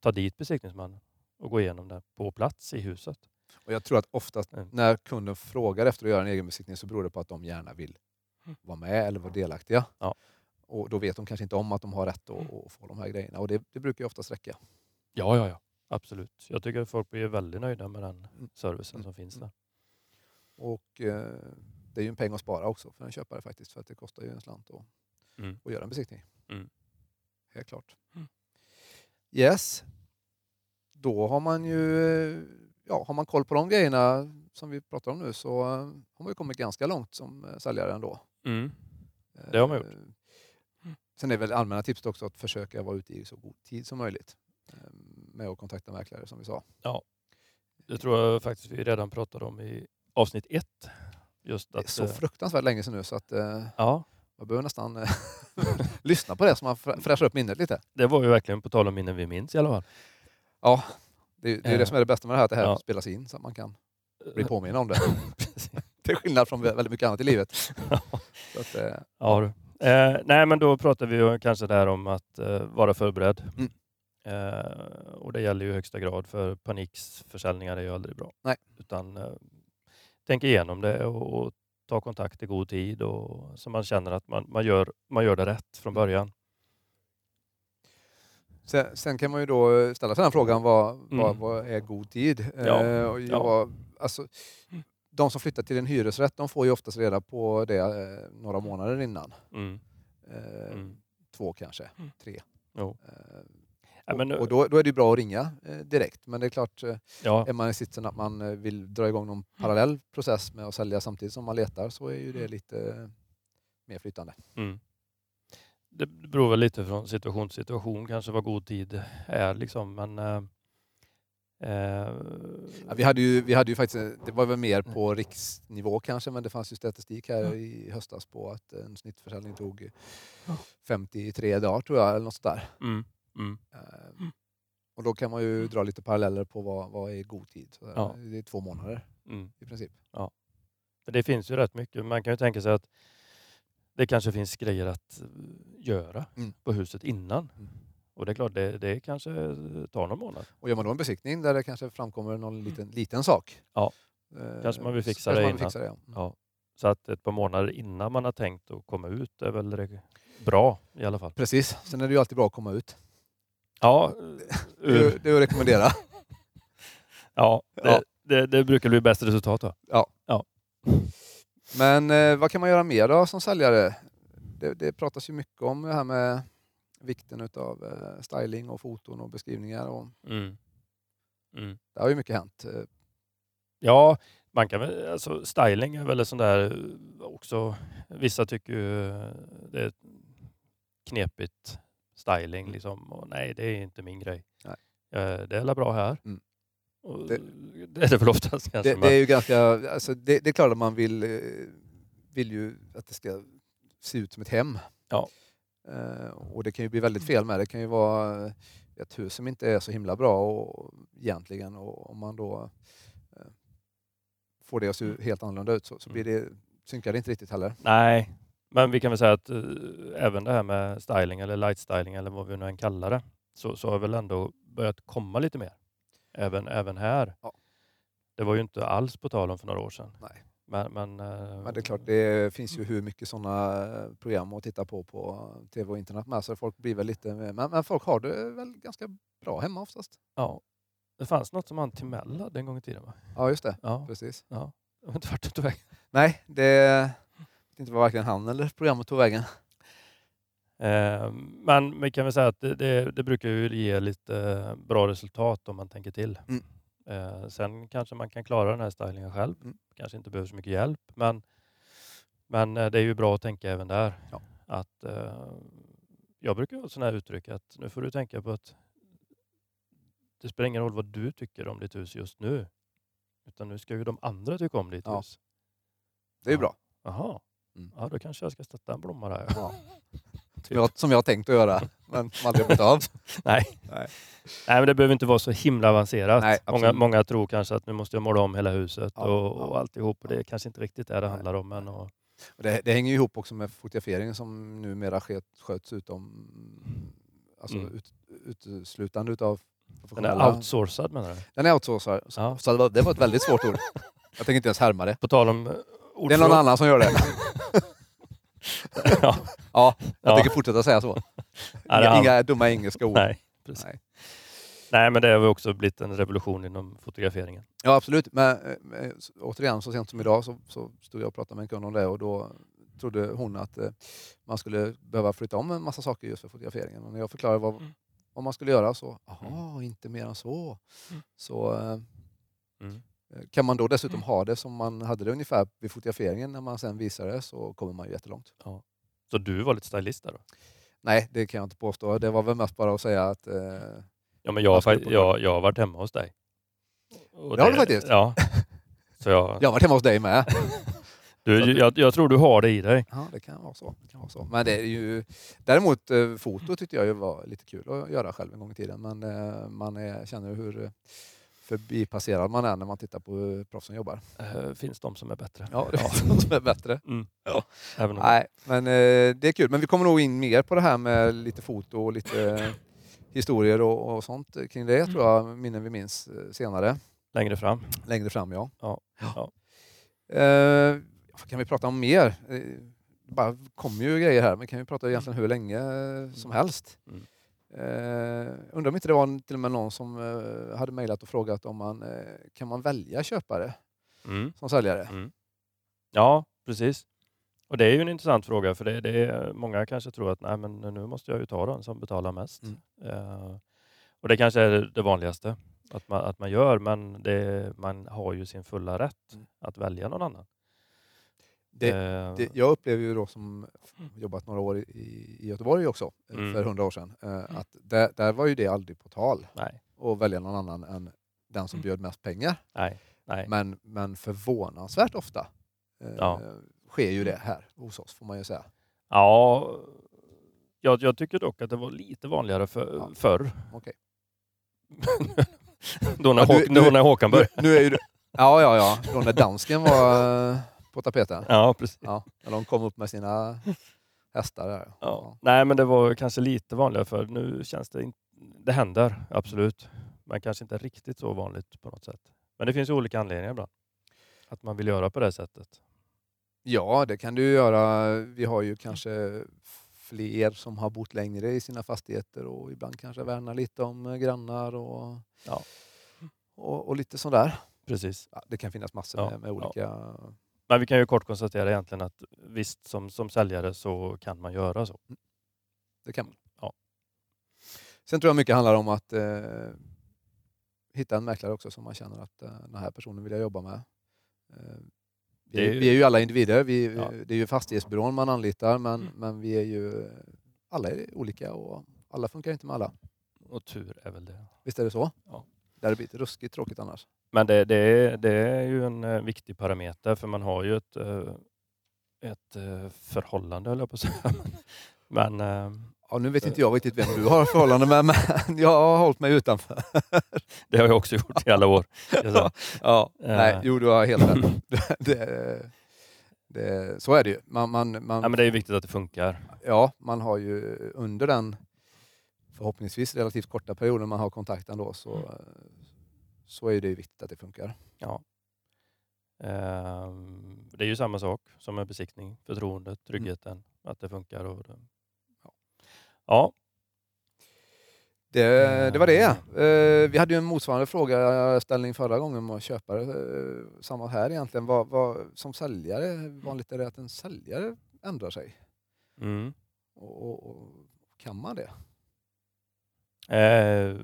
ta dit besiktningsmannen och gå igenom det på plats i huset.
Och jag tror att oftast
Mm.
när kunden frågar efter att göra en egen besiktning så beror det på att de gärna vill vara med eller vara delaktiga.
Mm. Ja. Mm.
Och då vet de kanske inte om att de har rätt att, att få de här grejerna. Och det, det brukar ju oftast räcka.
Ja, ja, ja. Absolut. Jag tycker att folk blir väldigt nöjda med den
Mm.
servicen
Mm.
som finns där.
Och eh, det är ju en peng att spara också för en köpare faktiskt. För att det kostar ju en slant att,
Mm.
att göra en besiktning.
Mm.
Helt klart.
Mm.
Yes. Då har man ju eh, ja, har man koll på de grejerna som vi pratar om nu så eh, har man ju kommit ganska långt som eh, säljare ändå.
Mm. Det har man Mm.
Eh, Sen är väl allmänna tipset också att försöka vara ute i så god tid som möjligt eh, med att kontakta mäklare som vi sa.
Det tror jag faktiskt vi redan pratade om i avsnitt ett. Just
Det är
att,
så
eh,
fruktansvärt länge sedan nu så att eh,
ja,
man behöver nästan eh, lyssna på det så man frä- fräschar upp minnet lite.
det var ju verkligen på tal om minnen vi minns i alla fall.
Ja, det är ju det, är ju det
Eh.
som är det bästa med det här, att det här
Ja.
spelas in så att man kan bli påminna om det. Till skillnad från väldigt mycket annat i livet. Så att, eh,
Ja, du. Eh, nej, men då pratar vi ju kanske där om att eh, vara förberedd.
Mm.
Eh, och det gäller ju i högsta grad för paniksförsäljningar är ju aldrig bra.
Nej.
Utan eh, tänk igenom det och, och ta kontakt i god tid och, så man känner att man, man, gör, man gör det rätt från början.
Sen, sen kan man ju då ställa sig den här frågan, vad, vad,
Mm.
vad är god tid?
Ja,
Eh, och jag, alltså, de som flyttar till en hyresrätt de får ju oftast reda på det eh, några månader innan.
Mm.
Eh,
Mm.
Två kanske,
Mm.
tre.
Jo.
Eh,
Ja,
och
men,
och då, då är det ju bra att ringa eh, direkt. Men det är klart, eh,
ja,
är man i sitsen att man eh, vill dra igång någon parallell process med att sälja samtidigt som man letar så är ju det lite eh, mer flytande.
mm. Det beror väl lite från situation till situation kanske vad god tid är liksom. Men, eh, eh,
Ja, vi, hade ju, vi hade ju faktiskt, det var väl mer
Mm.
på riksnivå kanske, men det fanns ju statistik här i höstas på att en snittförsäljning tog 53 dagar tror jag, eller något sånt där.
mm, mm,
Eh, Och då kan man ju dra lite paralleller på vad, vad är god tid. Så där.
Ja.
Det är två månader
mm.
i princip.
Men det finns ju rätt mycket. Man kan ju tänka sig att det kanske finns grejer att eh, göra
Mm.
på huset innan.
Mm.
Och det är klart, det, det kanske tar någon månad.
Och gör man då en besiktning där det kanske framkommer någon liten, liten sak.
Mm. Ja.
eh,
Kanske man vill
så
fixa
kanske
det
man vill
innan.
fixa det, ja. Mm.
Ja. Så att ett par månader innan man har tänkt att komma ut är väl det bra i alla fall.
Precis, sen är det ju alltid bra att komma ut.
Ja,
Det är ju-
ur,
det är att rekommendera.
ja,
Ja.
det, det, det brukar bli bäst resultat då.
Men eh, vad kan man göra mer då som säljare? Det, det pratas ju mycket om det här med vikten av eh, styling och foton och beskrivningar. Och
Mm. Mm.
det har ju mycket hänt. Eh,
Ja, man kan väl, alltså styling är väl en sån där eh, också. Vissa tycker ju eh, det är knepigt styling liksom. Och nej, det är inte min grej.
Mm. Nej.
Eh, Det är väl bra här.
Mm.
Och
Det-
det, är det väl oftast kanske.
Det, det är ju ganska, alltså det, det är klart att man vill, eh, vill ju att det ska se ut som ett hem.
Ja.
Eh, Och det kan ju bli väldigt fel med. Det kan ju vara ett hus som inte är så himla bra och, egentligen och om man då eh, får det att se helt annorlunda ut så, så blir det, synkar det inte riktigt heller.
Nej, men vi kan väl säga att eh, även det här med styling eller light styling eller vad vi nu än kallar det, så, så har väl ändå börjat komma lite mer. Även, även här.
Ja.
Det var ju inte alls på tal om för några år sedan.
Nej.
Men, men, eh,
Men det är klart, det finns ju hur mycket sådana program att titta på på tv och internet med. Så folk blir väl lite... Men, men folk har det väl ganska bra hemma oftast.
Ja. Det fanns något som han Timell hade en gång i tiden va?
Ja, just det.
Ja.
Precis.
Jag vet inte vart det tog vägen.
Nej, det vet inte var varken han eller programmet tog vägen.
Eh, men vi kan väl säga att det, det, det brukar ju ge lite eh, bra resultat om man tänker till.
Mm.
Eh, sen kanske man kan klara den här stylingen själv.
Mm.
Kanske inte behöver så mycket hjälp. Men, men eh, det är ju bra att tänka även där.
Ja.
Att, eh, jag brukar ha sådana här uttryck att nu får du tänka på att det spelar ingen roll vad du tycker om ditt hus just nu. Utan nu ska ju de andra tycka om ditt
Ja.
hus.
Det är ju bra.
Jaha,
Mm.
ja, då kanske jag ska sätta en blomma där.
Ja.
Typ.
som, jag, som jag har tänkt att göra, men som aldrig har blivit av.
Nej, men det behöver inte vara så himla avancerat.
Nej,
många,
absolut.
många tror kanske att nu måste jag måla om hela huset
Ja,
och, och
ja.
alltihop. Och det är kanske inte riktigt det det
Nej.
handlar om. Men, och,
Och Det, det hänger ju ihop också med fotograferingen som numera sker, sköts utom, alltså
Mm.
ut, uteslutande utav
den är
professionella.
outsourcad menar du?
Den är outsourcad. Så,
Ja.
så det, var, det var ett väldigt svårt ord. Jag tänker inte ens härma det.
På tal om eh,
Det är någon
ordförråd.
annan som gör det.
Ja.
Ja, jag
Ja.
tänker fortsätta säga så.
Ja, det är
Inga,
han.
inga dumma engelska ord.
Nej, precis. Nej.
Nej.
men det har ju också blivit en revolution inom fotograferingen.
Ja, absolut. Men eh, eh, s- återigen, så sent som idag så, så stod jag och pratade med en kund om det och då trodde hon att eh, man skulle behöva flytta om en massa saker just för fotograferingen. Och när jag förklarade vad,
Mm.
vad man skulle göra så, jaha, inte mer än så.
Mm.
Så eh,
Mm.
kan man då dessutom ha det som man hade det ungefär vid fotograferingen när man sen visar det så kommer man ju jättelångt.
Så du var lite stylist där då?
Nej, det kan jag inte påstå. Det var väl mest bara att säga att eh,
Ja, men jag, har
Vad ska
fakt-
du på
jag, jag har varit hemma hos dig. Och
Det har du faktiskt.
Ja. Så jag,
jag har varit hemma hos dig med.
du, jag, jag tror du har det i dig.
Ja, det kan vara så. Det kan vara så. Men det är ju, däremot eh, foto tyckte jag ju var lite kul att göra själv en gång i tiden. Men eh, man är, känner hur eh, förbipasserad man är när man tittar på hur proffsen jobbar.
Eh, finns de som är bättre.
Ja, det är något som är bättre.
Även om,
Nej, men eh, det är kul. Men vi kommer nog in mer på det här med lite foto och lite eh, historier och, och sånt kring det tror jag, minnen vi minns eh, senare.
Längre fram.
Längre fram, ja.
Ja. Ja.
Eh, vad kan vi prata om mer? Eh, Det bara kommer ju grejer här, men kan vi prata egentligen hur länge eh, som helst?
Mm.
Eh, undrar om inte det var till och med någon som eh, hade mejlat och frågat om man eh, kan man välja köpare
Mm.
som säljare?
Mm. Ja, precis. Och det är ju en intressant fråga för det, det är, många kanske tror att nej, men nu måste jag ju ta den som betalar mest.
Mm.
Eh, och det kanske är det vanligaste att man, att man gör, men det, man har ju sin fulla rätt
Mm.
att välja någon annan.
Det-
Eh,
Det, jag upplever ju då som jobbat några år i, i Göteborg också, eh,
Mm.
för hundra år sedan, eh, att där, där var ju det aldrig på tal
Nej,
att välja någon annan än den som
Mm.
bjöd mest pengar.
nej, nej.
Men, men förvånansvärt ofta eh,
Ja.
sker ju det här hos oss, får man ju säga.
Ja, jag, jag tycker dock att det var lite vanligare för,
Ja.
förr.
Okej.
då när,
Ja, du-
Håk,
du-
då när Håkan
Nu,
började.
nu är ju det, ja, ja, ja. Då när dansken var eh, på tapeten.
Ja, precis.
Ja, när de kom upp med sina hästar där.
Ja. Nej, men det var kanske lite vanligare för nu känns det inte... Det händer, absolut. Men kanske inte riktigt så vanligt på något sätt. Men det finns ju olika anledningar ibland. Att man vill göra på det sättet.
Ja, det kan du ju göra. Vi har ju kanske fler som har bott längre i sina fastigheter och ibland kanske värnar lite om eh, grannar och,
Ja.
och, och lite sådär.
Precis.
Ja, det kan finnas massor
Ja,
med, med
ja.
olika...
Men vi kan ju kort konstatera egentligen att visst, som, som säljare så kan man göra så.
Det kan man.
Ja.
Sen tror jag mycket handlar om att eh, hitta en mäklare också som man känner att eh, den här personen vill jag jobba med. Eh, vi,
Det är
är,
ju-
vi är ju alla individer. Vi,
Ja.
Det är ju fastighetsbyrån man anlitar men,
Mm.
men vi är ju alla är olika och alla funkar inte med alla.
Och tur är väl det.
Visst är det så?
Ja.
Det hade blivit ruskigt tråkigt annars.
Men det, det, är, det är ju en eh, viktig parameter för man har ju ett, eh, ett eh, förhållande höll jag på att säga. Men eh,
Ja, nu vet inte jag riktigt vem du har förhållande med men jag har hållit mig utanför.
det har jag också gjort i alla år. ska jag säga.
Ja,
Eh.
nej, jo du har helt rätt. Det, det, så är det ju. Man, man, man,
Ja, men det är ju viktigt att det funkar.
ja, man har ju under den förhoppningsvis relativt korta perioden man har kontakten då så, så är det ju viktigt att det funkar.
Ehm, Det är ju samma sak som med besiktning, förtroendet,
Mm.
tryggheten, att det funkar. Och det. Ja. ja,
Det, det var det. Eh, Vi hade ju en motsvarande frågeställning förra gången med köpare. Eh, Samma här egentligen. Vad, vad, som säljare, hur vanligt är det att en säljare ändrar sig?
mm.
Och, och, och, kan man det?
Eh,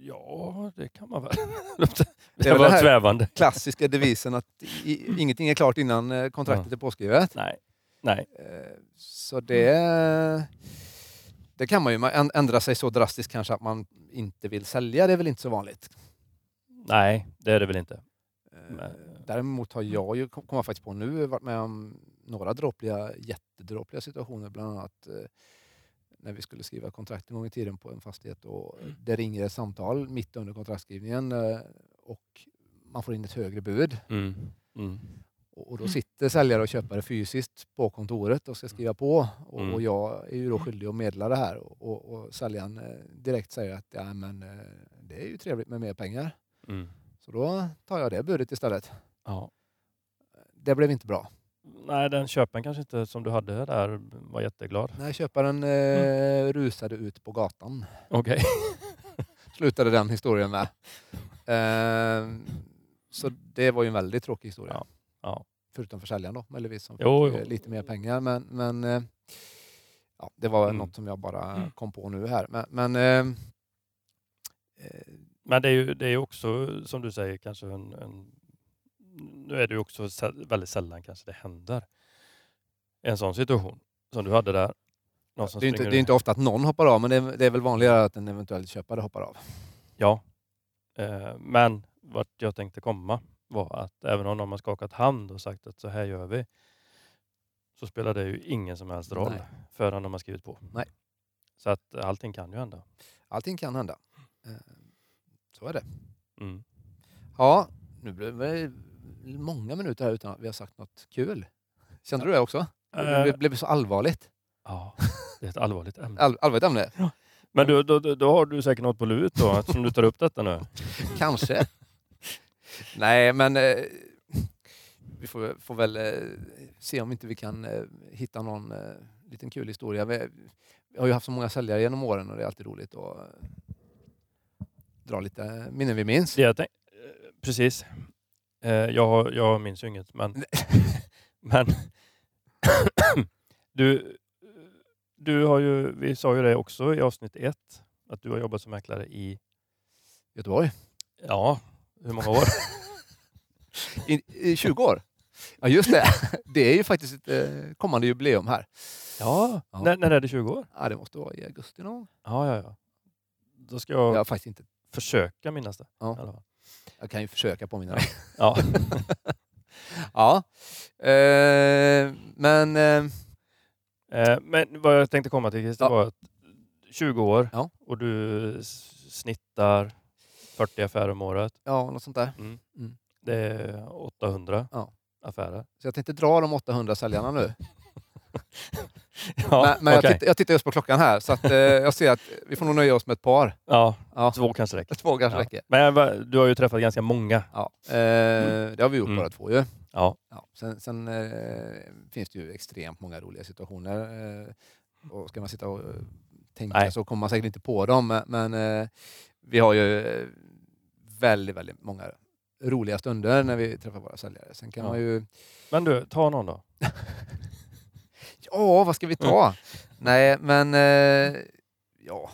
ja det kan man väl.
Det
det,
är väl
var
det här-
svävande.
Klassiska devisen att i, ingenting är klart innan eh, kontraktet är påskrivet.
Nej, nej.
Eh, Så det, det kan man ju. Man änd- ändrar sig så drastiskt kanske att man inte vill sälja. Det är väl inte så vanligt.
nej, det är det väl inte.
Eh,
Men-
Däremot har jag ju, kom kom jag faktiskt på nu, varit med om några dråpliga, jättedråpliga situationer. Bland annat eh, när vi skulle skriva kontrakt en gång i tiden på en fastighet och det ringer ett samtal mitt under kontraktskrivningen eh, och man får in ett högre bud.
Mm. Mm.
Och och då sitter säljare och köpare fysiskt på kontoret och ska skriva på. Och,
Mm.
och jag är ju då skyldig att meddela det här. Och, och, och säljaren eh, direkt säger att ja, men, eh, det är ju trevligt med mer pengar.
Mm.
Så då tar jag det budet istället.
Ja.
Det blev inte bra.
Nej, den köpen kanske inte som du hade där var jätteglad.
När köparen
Mm.
eh, rusade ut på gatan
Okej.
slutade den historien med. Ehm, så det var ju en väldigt tråkig historia.
Ja, ja.
Förutom för säljaren då, möjligtvis, som fick
Jo,
eh,
jo.
lite mer pengar. Men, men eh, ja, det var
Mm.
något som jag bara
Mm.
kom på nu här. Men, men eh, eh,
Men det är ju det är ju också, som du säger, kanske en, en... Nu är det ju också sä- väldigt sällan kanske det händer en sån situation som du hade där. Någon som
det, är inte,
springer
det är
ut.
inte ofta att någon hoppar av, men det är, det är väl vanligare att en eventuell köpare hoppar av.
Ja. Eh, Men vart jag tänkte komma var att även om någon har skakat hand och sagt att så här gör vi, så spelar det ju ingen som helst roll
Nej.
förrän de har skrivit på.
Nej.
Så att allting kan ju hända.
Allting kan hända. Ehm, så är det.
Mm.
Ja, nu blev det många minuter här utan att vi har sagt något kul. Kände du det också?
Eh,
Det blev så allvarligt.
ja, det är ett allvarligt ämne.
All, allvarligt ämne.
Men du, då, då, då har du säkert något på lut då, eftersom du tar upp detta nu.
Kanske. Nej, men eh, vi får, får väl eh, se om inte vi kan eh, hitta någon eh, liten kul historia. Vi, vi har ju haft så många säljare genom åren och det är alltid roligt att eh, dra lite minnen vi minns.
Det jag tänk, eh, precis. Eh, jag, har, jag minns ju inget, men... men du, du har ju, vi sa ju det också i avsnitt ett, att du har jobbat som mäklare i,
Göteborg.
ja, hur många år?
I, I 20 år. Ja, just det. Det är ju faktiskt ett eh, kommande jubileum här.
ja,
Ja.
När, när är det 20 år?
Ja, det måste vara i augusti någon gång.
Ja, ja, ja. Då ska jag
Jag har faktiskt inte
försöka minnas det.
Ja.
i alla fall.
Jag kan ju försöka påminna dig.
Ja.
ja. Eh, men eh,
Eh, men vad jag tänkte komma till Christer
Ja.
var att 20 år
Ja.
och du s- snittar 40 affärer om året. Mm.
ja, något sånt där.
Det är 800
Mm. Ja.
affärer.
Så jag tänkte dra de 800 säljarna nu.
Ja,
men men
okej.
jag, tittar, jag tittar just på klockan här så att, eh, jag ser att vi får nog nöja oss med ett par.
ja,
Ja,
två kanske räcker.
två kanske
Ja.
räcker.
Men jag var- du har ju träffat ganska många.
Ja. Eh, det har vi gjort
Mm.
bara två ju.
Ja.
Ja. Sen, sen eh, finns det ju extremt många roliga situationer. Eh, och ska man sitta och eh, tänka
Nej.
så kommer man säkert inte på dem. men- Men eh, vi har ju eh, väldigt, väldigt många roliga stunder när vi träffar våra säljare. Sen kan
Ja.
man ju
Men du, ta någon då.
Ja, vad ska vi ta? Nej, men eh, ja.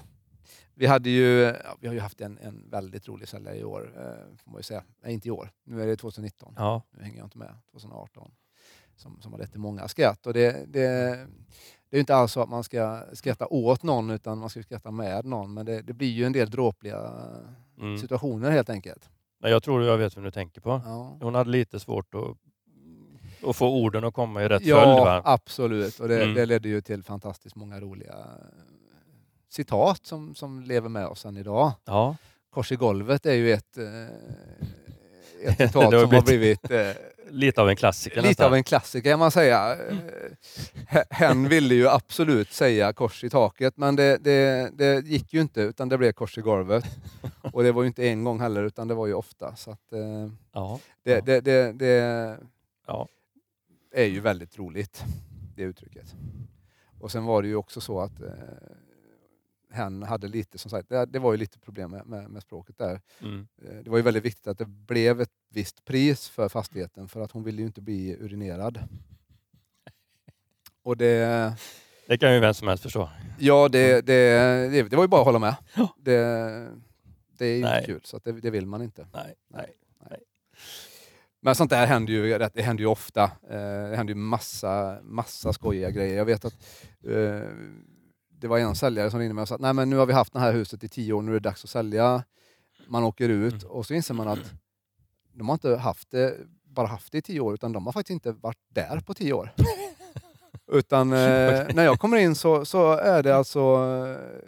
Vi, hade ju, ja, vi har ju haft en, en väldigt rolig säljare i år, eh, får man ju säga. Nej, inte i år. Nu är det 2019.
Ja.
Nu hänger jag inte med. 2018. Som, som har lett till många skratt. Och det, det, det är ju inte alls så att man ska skratta åt någon, utan man ska ju skratta med någon. Men det, det blir ju en del dråpliga
Mm.
situationer helt enkelt.
Men jag tror jag vet vem du tänker på.
Ja.
Hon hade lite svårt att, att få orden att komma i rätt följd.
Ja,
Va?
absolut. Och det,
Mm.
det ledde ju till fantastiskt många roliga eh, citat som, som lever med oss än idag.
Ja.
Kors i golvet är ju ett, eh, ett
Det
citat
har
som har
blivit-
blivit eh,
Lite av en klassiker
lite av
nästan.
en klassiker kan man säga. Eh, he- Hen ville ju absolut säga kors i taket men det, det, det gick ju inte utan det blev kors i golvet. Och det var ju inte en gång heller utan det var ju ofta. Så att, eh,
Ja.
det,
Ja.
det, det, det
Ja.
är ju väldigt roligt, det uttrycket. Och sen var det ju också så att eh, hen hade lite, som sagt, det, det var ju lite problem med, med, med språket där.
Mm.
Eh, Det var ju väldigt viktigt att det blev ett visst pris för fastigheten för att hon ville ju inte bli urinerad. Och det,
Det kan ju vem som helst förstå.
ja, det, det, det, det var ju bara att hålla med.
Ja.
Det, det är ju inte
Nej.
kul, så att det, det vill man inte.
Nej, nej.
Men sånt där händer ju, rätt- det händer ju ofta. Eh, Det händer ju massa, massa skojiga grejer. Jag vet att eh, det var en säljare som ringde mig och sa att Nej, men nu har vi haft det här huset i tio år, nu är det dags att sälja. Man åker ut och så inser man att de har inte haft det, bara haft det i tio år utan de har faktiskt inte varit där på tio år. Utan eh,
Okej.
när jag kommer in så, så är det alltså... eh,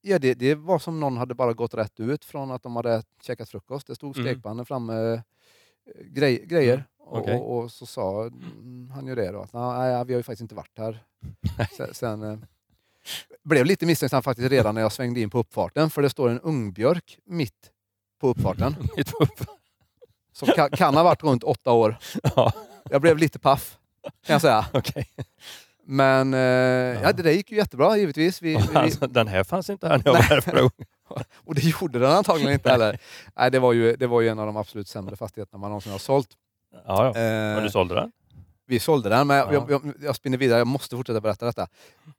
Ja, det, det var som någon hade bara gått rätt ut från att de hade käkat frukost. Det stod
Mm.
stekpannor framme, eh, grej, grejer. Och,
okej.
och, och så sa mm, han ju det då, att nej, vi har ju faktiskt inte varit här. Sen, sen eh, blev lite misstänksam faktiskt redan när jag svängde in på uppfarten, för det står en ungbjörk mitt på uppfarten
Mitt uppe.
som kan, kan ha varit runt åtta år.
Ja,
Jag blev lite paff, kan jag säga.
okej.
Men eh, ja.
Ja.
det där gick ju jättebra givetvis. Vi, vi,
Alltså, den här fanns inte här när jag var här förra gången.
och det gjorde den antagligen inte heller. Nej, det, var ju, det var ju en av de absolut sämre fastigheterna man någonsin har sålt.
Ja, ja. Men
Eh,
du sålde den?
vi sålde den, men jag,
Ja.
jag, jag, jag spinner vidare. Jag måste fortsätta berätta detta. Eh,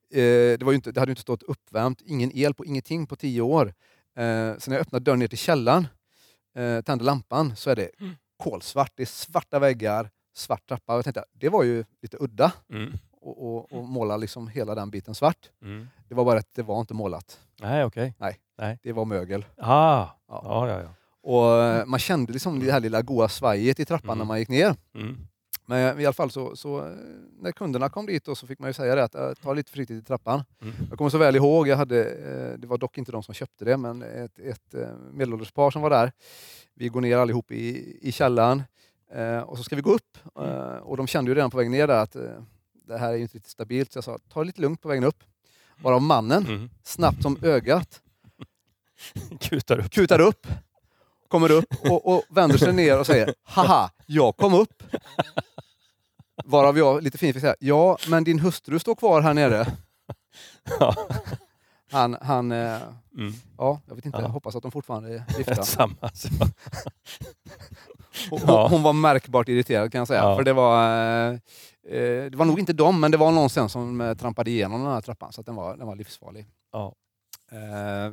det, var ju inte, det hade ju inte stått uppvärmt, ingen el på ingenting på tio år. Eh, så när jag öppnade dörren ner till källaren, eh, tände lampan, så är det
Mm.
kolsvart. Det är svarta väggar, svart trappa. Och Jag tänkte, det var ju lite udda
Mm.
och, och, och måla liksom hela den biten svart.
Mm.
Det var bara att det var inte målat.
Nej, okej.
Det var mögel.
Ah.
Ja.
Ja, ja, ja.
Och eh, man kände liksom det här lilla goa svajet i trappan
Mm.
när man gick ner.
Mm.
Men i alla fall så, så eh, när kunderna kom dit då, så fick man ju säga det att eh, ta lite försiktigt i trappan.
Mm.
Jag kommer så väl ihåg, jag hade, eh, det var dock inte de som köpte det, men ett, ett eh, medelålders par som var där. Vi går ner allihop i, i källaren eh, och så ska vi gå upp. Eh, Och de kände ju redan på vägen ner där att eh, det här är ju inte riktigt stabilt. Så jag sa, ta det lite lugnt på vägen upp. Varav mannen,
Mm.
snabbt som ögat,
Kutar upp.
kutar upp, kommer upp och, och vänder sig ner och säger ”Haha, jag kom upp”. Varav jag lite fint fick säga ”Ja, men din hustru står kvar här nere”.
Ja.
Han, han eh,
Mm.
ja, jag vet inte,
Ja.
jag hoppas att de fortfarande är gifta.
Tillsammans.
Hon,
Ja.
hon var märkbart irriterad kan jag säga.
Ja.
För det var, eh, eh, det var nog inte dem, men det var någon sen som eh, trampade igenom den här trappan så att den, var, den var livsfarlig.
Ja.
Eh,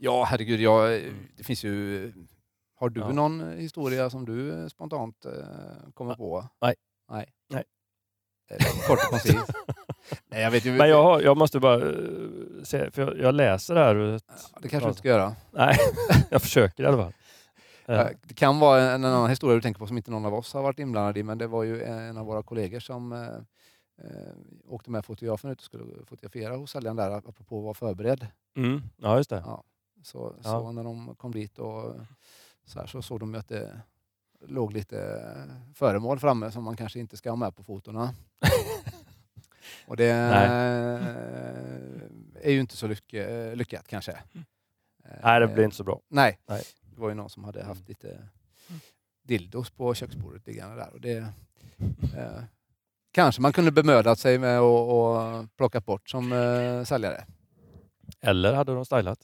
ja, herregud, jag, det finns ju... Har du
Ja.
någon historia som du eh, spontant eh, kommer på?
nej.
Nej.
Nej.
Eh, Kort och koncist. Nej, jag vet ju...
Men jag, har, jag måste bara eh, säga, för jag, jag läser det här. och-
Det kanske du inte ska göra.
Nej, jag försöker i alla fall. Eh,
Eh, Det kan vara en, en annan historia du tänker på som inte någon av oss har varit inblandad i, men det var ju en av våra kollegor som eh, eh, åkte med fotografen ut och skulle fotografera hos säljaren där, apropå att vara förberedd.
Mm. Ja, just det.
Så,
Ja.
så när de kom dit och så, här, så såg de ju att det låg lite föremål framme som man kanske inte ska ha med på fotona. och det
Nej.
eh, är ju inte så lyck- lyckat kanske. Eh,
Nej, det blir inte så bra.
Nej.
Nej. Mm.
Det var ju någon som hade haft lite dildos på köksbordet liggande där. Och det, eh, kanske man kunde bemödat sig med att att plocka bort som eh, säljare.
Eller hade de stylat?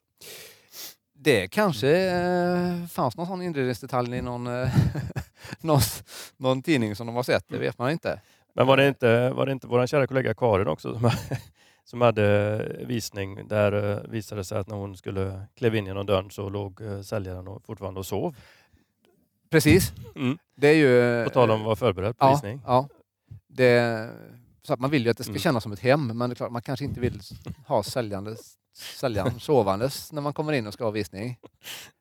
Det kanske eh, fanns någon sån inredningsdetalj i någon, eh, någon, någon tidning som de har sett, det
Mm.
vet man inte.
Men var det inte, var det inte vår kära kollega Karin också som, som hade eh, visning där eh, visade det sig att när hon skulle kliva in genom dörren så låg eh, säljaren och fortfarande och sov.
Precis,
Mm.
det är ju... eh,
På tal om att vara förberedd på
ja,
visning.
ja. Det, så att man vill ju att det ska
Mm.
kännas som ett hem, men det är klart, man kanske inte vill ha säljandes, säljaren sovandes när man kommer in och ska ha visning.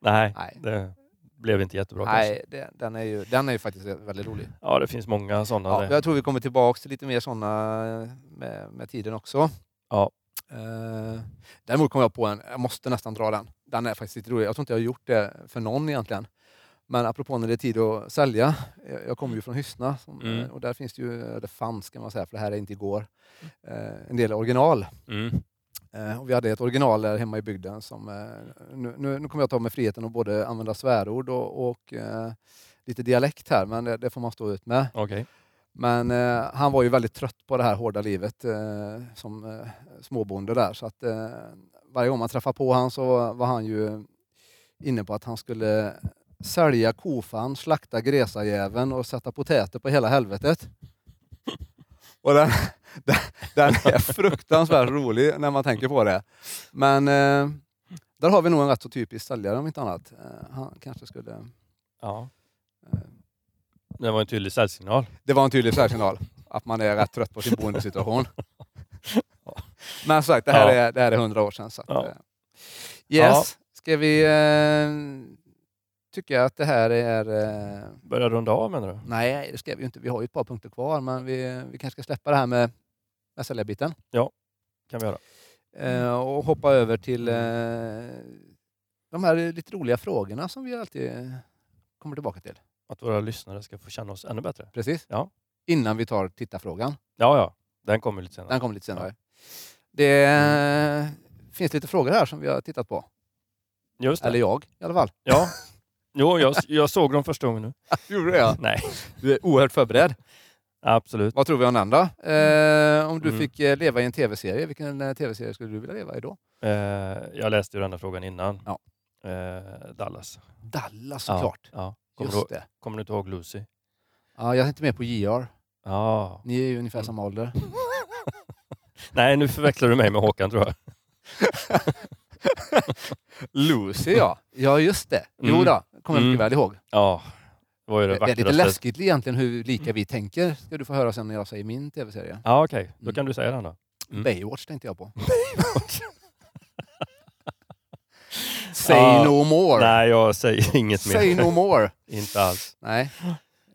Nej,
Nej,
det blev inte jättebra kanske.
Nej det, den, är ju, den är ju faktiskt väldigt rolig.
Ja, det finns många sådana.
Ja,
där.
jag tror vi kommer tillbaka till lite mer sådana med, med tiden också.
Ja.
Eh, däremot kom jag på en, jag måste nästan dra den. Den är faktiskt lite rolig. Jag tror inte jag har gjort det för någon egentligen. Men apropå när det är tid att sälja. Jag, jag kommer ju från Hyssna som,
Mm.
eh, och där finns det ju, eller fanns kan man säga, för det här är inte igår, eh, en del original.
Mm.
Eh, Och vi hade ett original där hemma i bygden. Som, eh, nu, nu, nu kommer jag ta mig friheten att både använda svärord och, och eh, lite dialekt här, men det, det får man stå ut med.
Okej.
Men eh, han var ju väldigt trött på det här hårda livet eh, som eh, småbonde där. Så att, eh, varje gång man träffade på han så var han ju inne på att han skulle sälja kofan, slakta gräsajäveln och sätta potäter på hela helvetet. Och den, den, den är fruktansvärt rolig när man tänker på det. Men eh, där har vi nog en rätt så typisk säljare om inte annat. Eh, han kanske skulle...
Ja.
Eh,
Det var en tydlig säljsignal.
det var en tydlig särsignal. Att man är rätt trött på sin boendesituation. Men som sagt, det här,
Ja.
är, det här är 100 år sedan. Så att,
Ja.
eh, Yes, ska vi eh, tycka att det här är... Eh,
Börja runda av menar du?
nej, det ska vi ju inte. Vi har ju ett par punkter kvar, men vi, vi kanske ska släppa det här med SLR-biten.
kan vi göra.
Eh, och hoppa över till eh, de här lite roliga frågorna som vi alltid eh, kommer tillbaka till.
Att våra lyssnare ska få känna oss ännu bättre.
Precis.
Ja.
Innan vi tar tittarfrågan.
Ja, ja. Mm. Den kommer lite senare.
Den kommer lite senare. Det eh, finns lite frågor här som vi har tittat på.
Just
Eller
det.
jag i alla fall.
Ja. Jo, jag, jag såg dem första gången nu.
Gjorde det?
Nej,
Du är oerhört förberedd.
absolut.
Vad tror vi om den då? Eh, om du
Mm.
fick eh, leva i en tv-serie, vilken eh, tv-serie skulle du vilja leva i då?
Eh, jag läste ju den här frågan innan.
Ja.
Eh, Dallas.
Dallas såklart.
Ja. Kommer,
Just
du,
det.
kommer du inte ihåg Lucy?
Ja, jag tänkte mer på JR.
Ja.
Ni är ju ungefär
Mm.
samma ålder.
Nej, nu förväxlar du mig med Håkan tror jag.
Lucy ja. Ja just det. Jo
Mm.
då, kommer jag
Mm.
mycket väl ihåg.
Ja, det var ju det
Det är lite
vackraste.
läskigt egentligen hur lika vi tänker. Ska du få höra sen när jag säger min tv-serie.
Ja, okej. Då
Mm.
kan du säga den då. Mm.
Baywatch tänkte jag på. Say
Ja,
no more.
Nej, jag säger inget mer.
Say no more.
Inte alls.
Nej.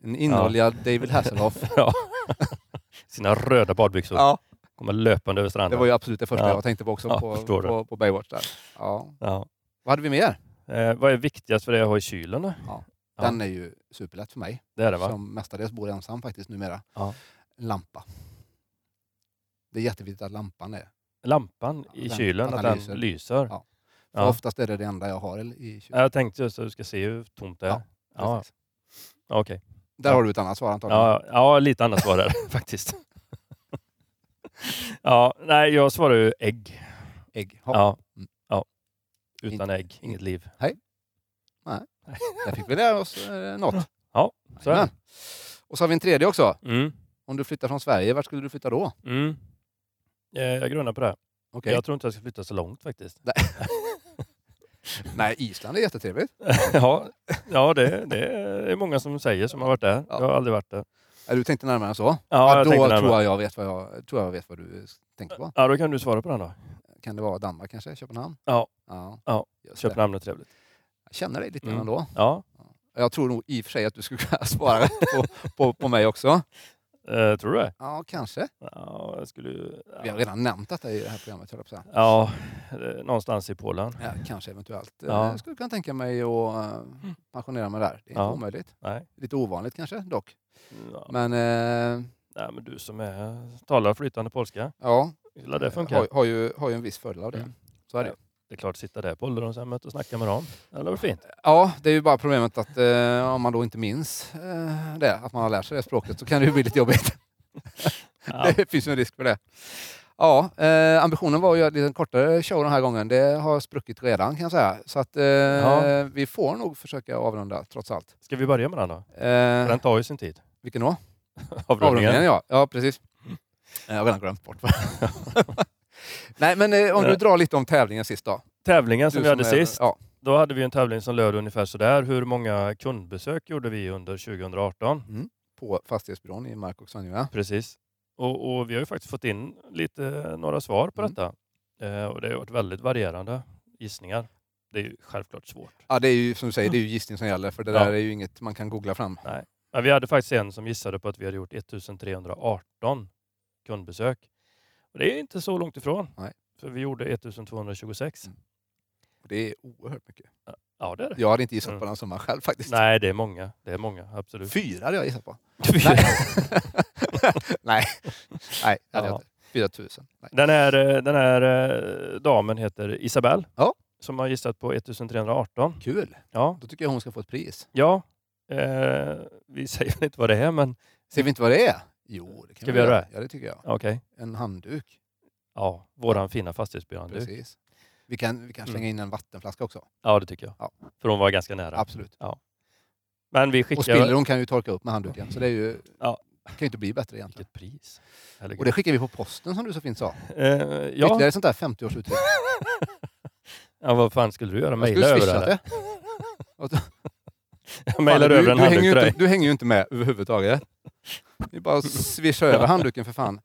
En inoljad David Hasselhoff.
Ja. Sina röda badbyxor.
Ja,
Kommer löpande över
det
stranden.
var ju absolut det första
Ja.
jag tänkte på också
Ja,
på,
förstår du.
på, på Baywatch. Där. Ja.
ja.
Vad hade vi mer?
eh, vad är viktigast för dig att ha i kylen? Då? Ja.
Den är ju superlätt för mig
Det är det va?
som mestadels bor ensam faktiskt numera.
Ja.
En Lampa. Det är jätteviktigt att lampan är
Lampan
Ja,
i
den-
kylen, att den lyser.
Ja.
Ja.
För Oftast är det det enda jag har i kylen.
Jag tänkte just att du ska se hur tomt det är.
typ. Ja,
Ja, ja.
Precis.
okej.
Där har du ett annat svar antagligen.
Ja, ja, lite annat svar där faktiskt. ja, nej, jag svarar ju ägg.
Ägg. Ja.
Ja.
Mm.
ja. Utan ägg, inget liv.
Där fick vi lära oss eh, något.
Ja, så är det.
Jajamän. Och så har vi en tredje också.
Mm.
Om du flyttar från Sverige, vart skulle du flytta då?
Mm. Eh, Jag grundar på det. här.
Okej.
Jag tror inte jag ska flytta så långt faktiskt.
Nej, Island är jättetrevligt.
ja, ja det, det är många som säger som har varit där. Jag
Ja.
har aldrig varit där.
Eh, Du tänkte närmare än så?
Ja, jag
då
tänkte
tror
närmare.
jag, jag vet vad jag tror jag vet vad du tänker på.
Ja, då kan du svara på den då.
Kan det vara Danmark kanske? Köpenhamn?
Ja.
ja.
Ja,
Just det.
Köpenhamn är trevligt.
Jag känner dig lite
Mm.
grann då.
Ja,
Jag tror nog i och för sig att du skulle kunna svara rätt på, på, på mig också.
eh, tror du det?
Ja, kanske.
Ja, jag skulle ju-
Vi har redan nämnt detta i det här programmet, höll jag på att säga.
Ja, eh, någonstans i Polen.
Ja, kanske eventuellt.
Ja.
Jag skulle kunna tänka mig att eh, pensionera mig där. Det är inte
Ja.
omöjligt.
Nej.
Lite ovanligt kanske dock.
Ja,
Men eh,
nej, men du som är, talar flytande polska,
ja,
gillar
Eh,
det funkar.
har, har, ju, har ju en viss fördel av det.
Mm.
Så är det.
Det är klart, sitta där på ålderdomshemmet och snacka med dem. Ja, Det var fint.
Ja, det är ju bara problemet att eh, om man då inte minns eh, det, att man har lärt sig det språket, så kan det ju bli lite jobbigt.
Ja,
Det finns ju en risk för det. Ja, eh, ambitionen var ju att lite kortare show den här gången. Det har spruckit redan kan jag säga. Så att eh,
Ja.
vi får nog försöka avrunda trots allt.
ska vi börja med den då? För
Eh,
Den tar ju sin tid.
vilken då?
Avrundningen.
Avrundningen ja. ja, precis. Eh, Jag har redan glömt bort. vad- Nej, men eh, om du
Nej.
drar lite om tävlingen sist då.
Tävlingen som
Du
vi hade
är-
sist,
Ja.
då hade vi en tävling som löd ungefär sådär. Hur många kundbesök gjorde vi under 2018?
Mm. På Fastighetsbyrån i Mark och Svenljunga.
Precis. Och, och vi har ju faktiskt fått in lite, några svar på
Mm.
detta. Eh, och det har varit väldigt varierande gissningar. Det är ju självklart svårt.
Ja, det är ju som du säger, det är ju gissning som gäller för det
Ja.
där är ju inget man kan googla fram.
Men vi hade faktiskt en som gissade på att vi hade gjort 1318 kundbesök. Och det är inte så långt ifrån.
Nej.
För vi gjorde 1226.
Mm. Det är oerhört mycket.
Ja, det är det.
Jag hade inte gissat
Mm.
på den summan själv faktiskt.
Nej, det är många. Det är många, absolut.
Fyra hade jag gissat på.
Fyra.
Nej, Nej det hade
Ja.
jag inte. Fyra tusen. Nej.
Den här, eh, den här eh, damen heter Isabelle.
Ja.
Som har gissat på 1318.
Kul!
Ja,
Då tycker jag hon ska få ett pris.
ja. Eh, vi säger väl inte vad det är, men
Ser vi inte vad det är? Jo, det kan
Mm. Ska vi göra
Ja, det tycker jag.
okej.
En handduk.
Ja, våran fina fastighetsbyråhanduk.
Precis. Vi kan, vi kan slänga
Mm.
in en vattenflaska också.
Ja, det tycker jag.
Ja.
För hon var ganska nära.
Absolut.
Men vi
Och
skickar...
spillron kan ju torka upp med handduken, så det är ju,
Ja.
kan ju inte bli bättre egentligen.
Vilket pris.
Och det skickar vi på posten som du så fint sa.
Eh, ja.
Ytterligare sånt där 50-årsuttryck.
ja, vad fan skulle du göra?
Jag skulle
Mejla över
swisha
det?
det.
Jag mejlar
Fan,
över en
du, du, hänger
handduk
ju
till
inte,
dig.
du hänger ju inte med överhuvudtaget. Vi bara swishar över handduken för fan.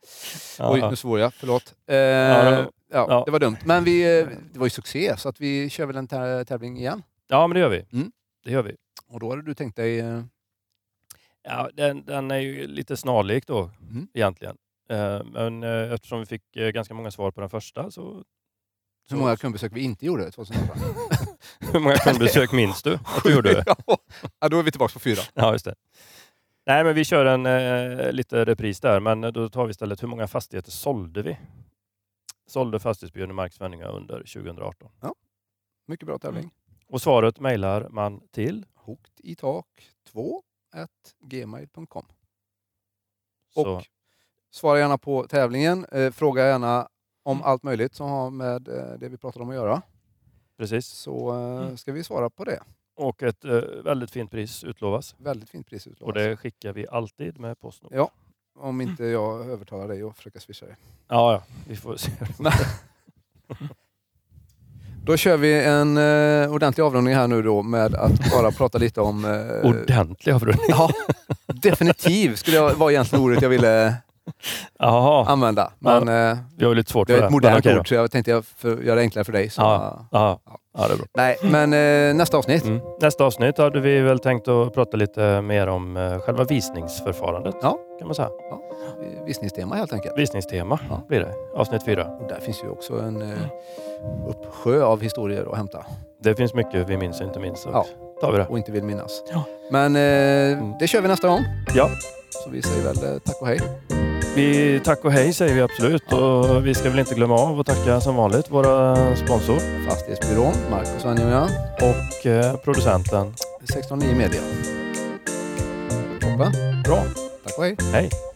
Oj,
Ja.
nu svor jag. Förlåt. Eh,
det
ja,
var- ja.
det var dumt. Men vi, eh, det var ju succé, så att vi kör väl en tä- tävling igen.
ja, men det gör vi.
Mm.
Det gör vi.
Och då hade du tänkt dig... eh,
Ja, den, den är ju lite snarlik då
Mm.
egentligen. Eh, Men eh, eftersom vi fick eh, ganska många svar på den första så...
Hur många kundbesök vi inte gjorde 2008?
Hur många kundbesök minns du att du gjorde?
ja, då är vi tillbaka på fyra.
Ja, just det. Nej, men vi kör en eh, lite repris där, men eh, då tar vi istället hur många fastigheter sålde vi? Sålde fastighetsbyrån i Mark Svenninga under 2018?
Mycket bra tävling.
Och svaret mejlar man till
Hooked i tak 2 at gmail.com.
så
Och svara gärna på tävlingen. Eh, fråga gärna
Mm.
om allt möjligt som har med eh, det vi pratade om att göra.
precis.
Så eh,
Mm.
ska vi svara på det.
Och ett eh, väldigt fint pris utlovas.
Väldigt fint pris
Och
utlovat.
det Mm. skickar vi alltid med Postnord.
Alltså. Ja. Om inte jag övertalar dig att försöka swisha dig.
Ja, ja, vi får se.
Då kör vi en eh, ordentlig avrundning här nu då med att bara prata lite om... eh,
Ordentlig avrundning.
ja, definitiv skulle jag, var egentligen ordet jag ville
Jaha,
använda. Men eh,
vi har ju lite svårt
det
för
är
det.
ett
men
modernt
okej då.
ord så jag tänkte jag för, göra det enklare för dig. Så,
Ja. Ja,
Ja.
ja, det är bra.
Nej, men eh, nästa avsnitt.
Mm. Nästa avsnitt hade vi väl tänkt att prata lite mer om eh, själva visningsförfarandet.
Ja.
Kan man säga.
eh, Visningstema helt enkelt.
Visningstema
Ja.
blir det. Avsnitt fyra.
Och där finns ju också en eh, uppsjö av historier att hämta
Det finns mycket vi minns och inte minns. Och
Ja.
tar vi det.
och inte vill minnas.
Ja.
Men eh, det kör vi nästa gång.
Ja.
Så vi säger väl eh, tack och hej.
Vi, tack och hej säger vi absolut. Och vi ska väl inte glömma av att tacka som vanligt våra sponsor
Fastighetsbyrån, Marcus Svenninga,
och eh, producenten.
16.9 Media. Toppen.
Bra.
Tack och hej.
Hej!